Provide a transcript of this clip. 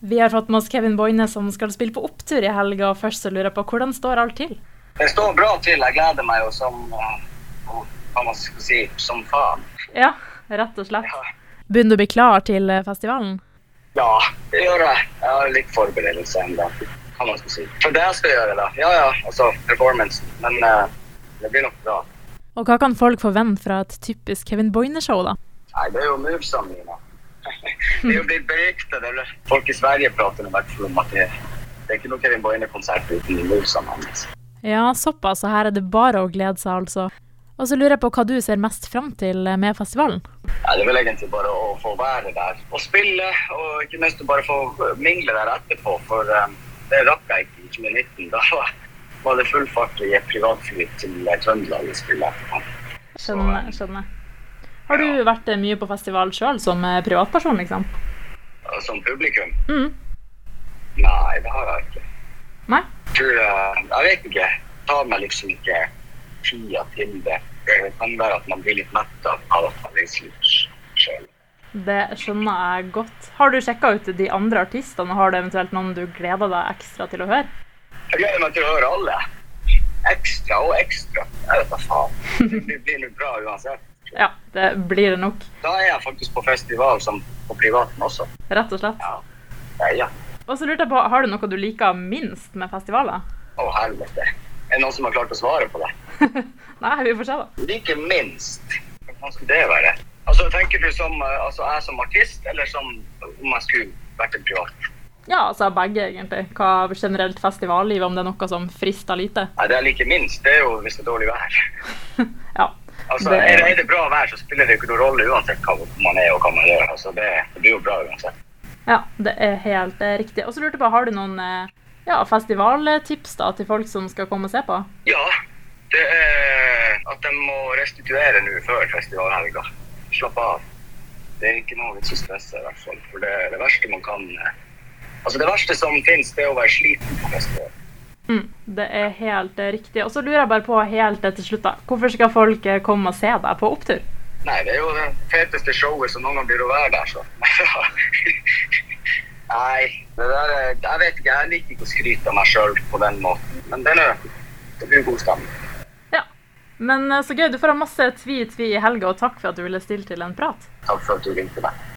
Vi har fått med oss Kevin Boine som skal spille på opptur i helga. og Først så lurer jeg på hvordan står alt til? Det står bra til. Jeg gleder meg jo som eh, hva man skal si som faen. Ja, rett og slett. Ja. Begynner du å bli klar til eh, festivalen? ja, det gjør jeg. Jeg har litt forberedelse ennå. Hva man skal si. For det jeg skal gjøre, da. Ja ja, altså performancen. Men eh, det blir nok bra. Og hva kan folk forvente fra et typisk Kevin Boine-show, da? Nei, det er jo movesa mine. Det er jo blitt beryktet. det er vel- Folk i Sverige prater i hvert fall om at det, det er ikke noe Kevin Boine-konsert uten de movesene hans. Ja, såpass, så her er det bare å glede seg, altså. Og så lurer jeg på hva du ser mest fram til eh, med festivalen? Nei, det er vel egentlig bare å få være der og spille, og ikke minst å bare få mingle der etterpå. For eh, det rakk jeg ikke i 2019. Da var det full fart i et privatfly til eh, Trøndelag og spille etterpå. Så, eh, Skjønner. skjønner. Har du vært eh, mye på festival sjøl, som eh, privatperson, liksom? eh, Som publikum? Mm. Nei, det har jeg ikke. Nei? Tror jeg, jeg vet ikke. Tar meg liksom ikke tida til det. Det kan være at man blir litt mett av at man reiser litt sjøl. Det skjønner jeg godt. Har du sjekka ut de andre artistene, og har du eventuelt noen du gleder deg ekstra til å høre? Jeg gleder meg til å høre alle. Ekstra og ekstra. Jeg vet da faen. Det blir nå bra uansett. Ja, det blir det nok. Da er jeg faktisk på festival som på privaten også. Rett og slett. Ja. Ja, ja. Og så lurte jeg på, har du noe du liker minst med festivaler? Å, helvete. Er det noen som har klart å svare på det? Nei, vi får se, da. Like minst. Hva skulle det være? Altså, tenker du som eh, altså, jeg som artist, eller som om jeg skulle vært en privat? Ja, altså begge, egentlig. Hva generelt festivallivet, om det er noe som frister lite. Nei, det jeg liker minst, det er jo hvis det er dårlig vær. Ja. Altså, Det- er, det, er det bra vær, så spiller det jo ikke noen rolle uansett hva man er og hva man gjør. Altså, det, det blir jo bra uansett. Ja, det er helt eh, riktig. Og så lurte jeg på, har du noen eh, ja, festivaltips da, til folk som skal komme og se på? Ja, det er at de må restituere nå før festivalhelga. Slapp av. Det er ikke noe vits å stresse, i hvert fall. For det, det verste man kan eh, Altså, det verste som fins, det er å være sliten på festival. Mm, det er helt eh, riktig. Og så lurer jeg bare på helt eh, til slutt, da. Hvorfor skal folk eh, komme og se deg på opptur? Nei, det er jo det feteste showet som noen gang blir å være der, så. Nei, det der er, Jeg vet ikke, jeg liker ikke å skryte av meg sjøl på den måten. Men det, er, nå- det blir god stemning. Ja. Men eh, så gøy. Du får ha masse tvi-tvi i helga, og takk for at du ville stille til en prat. Takk for at du ringte meg.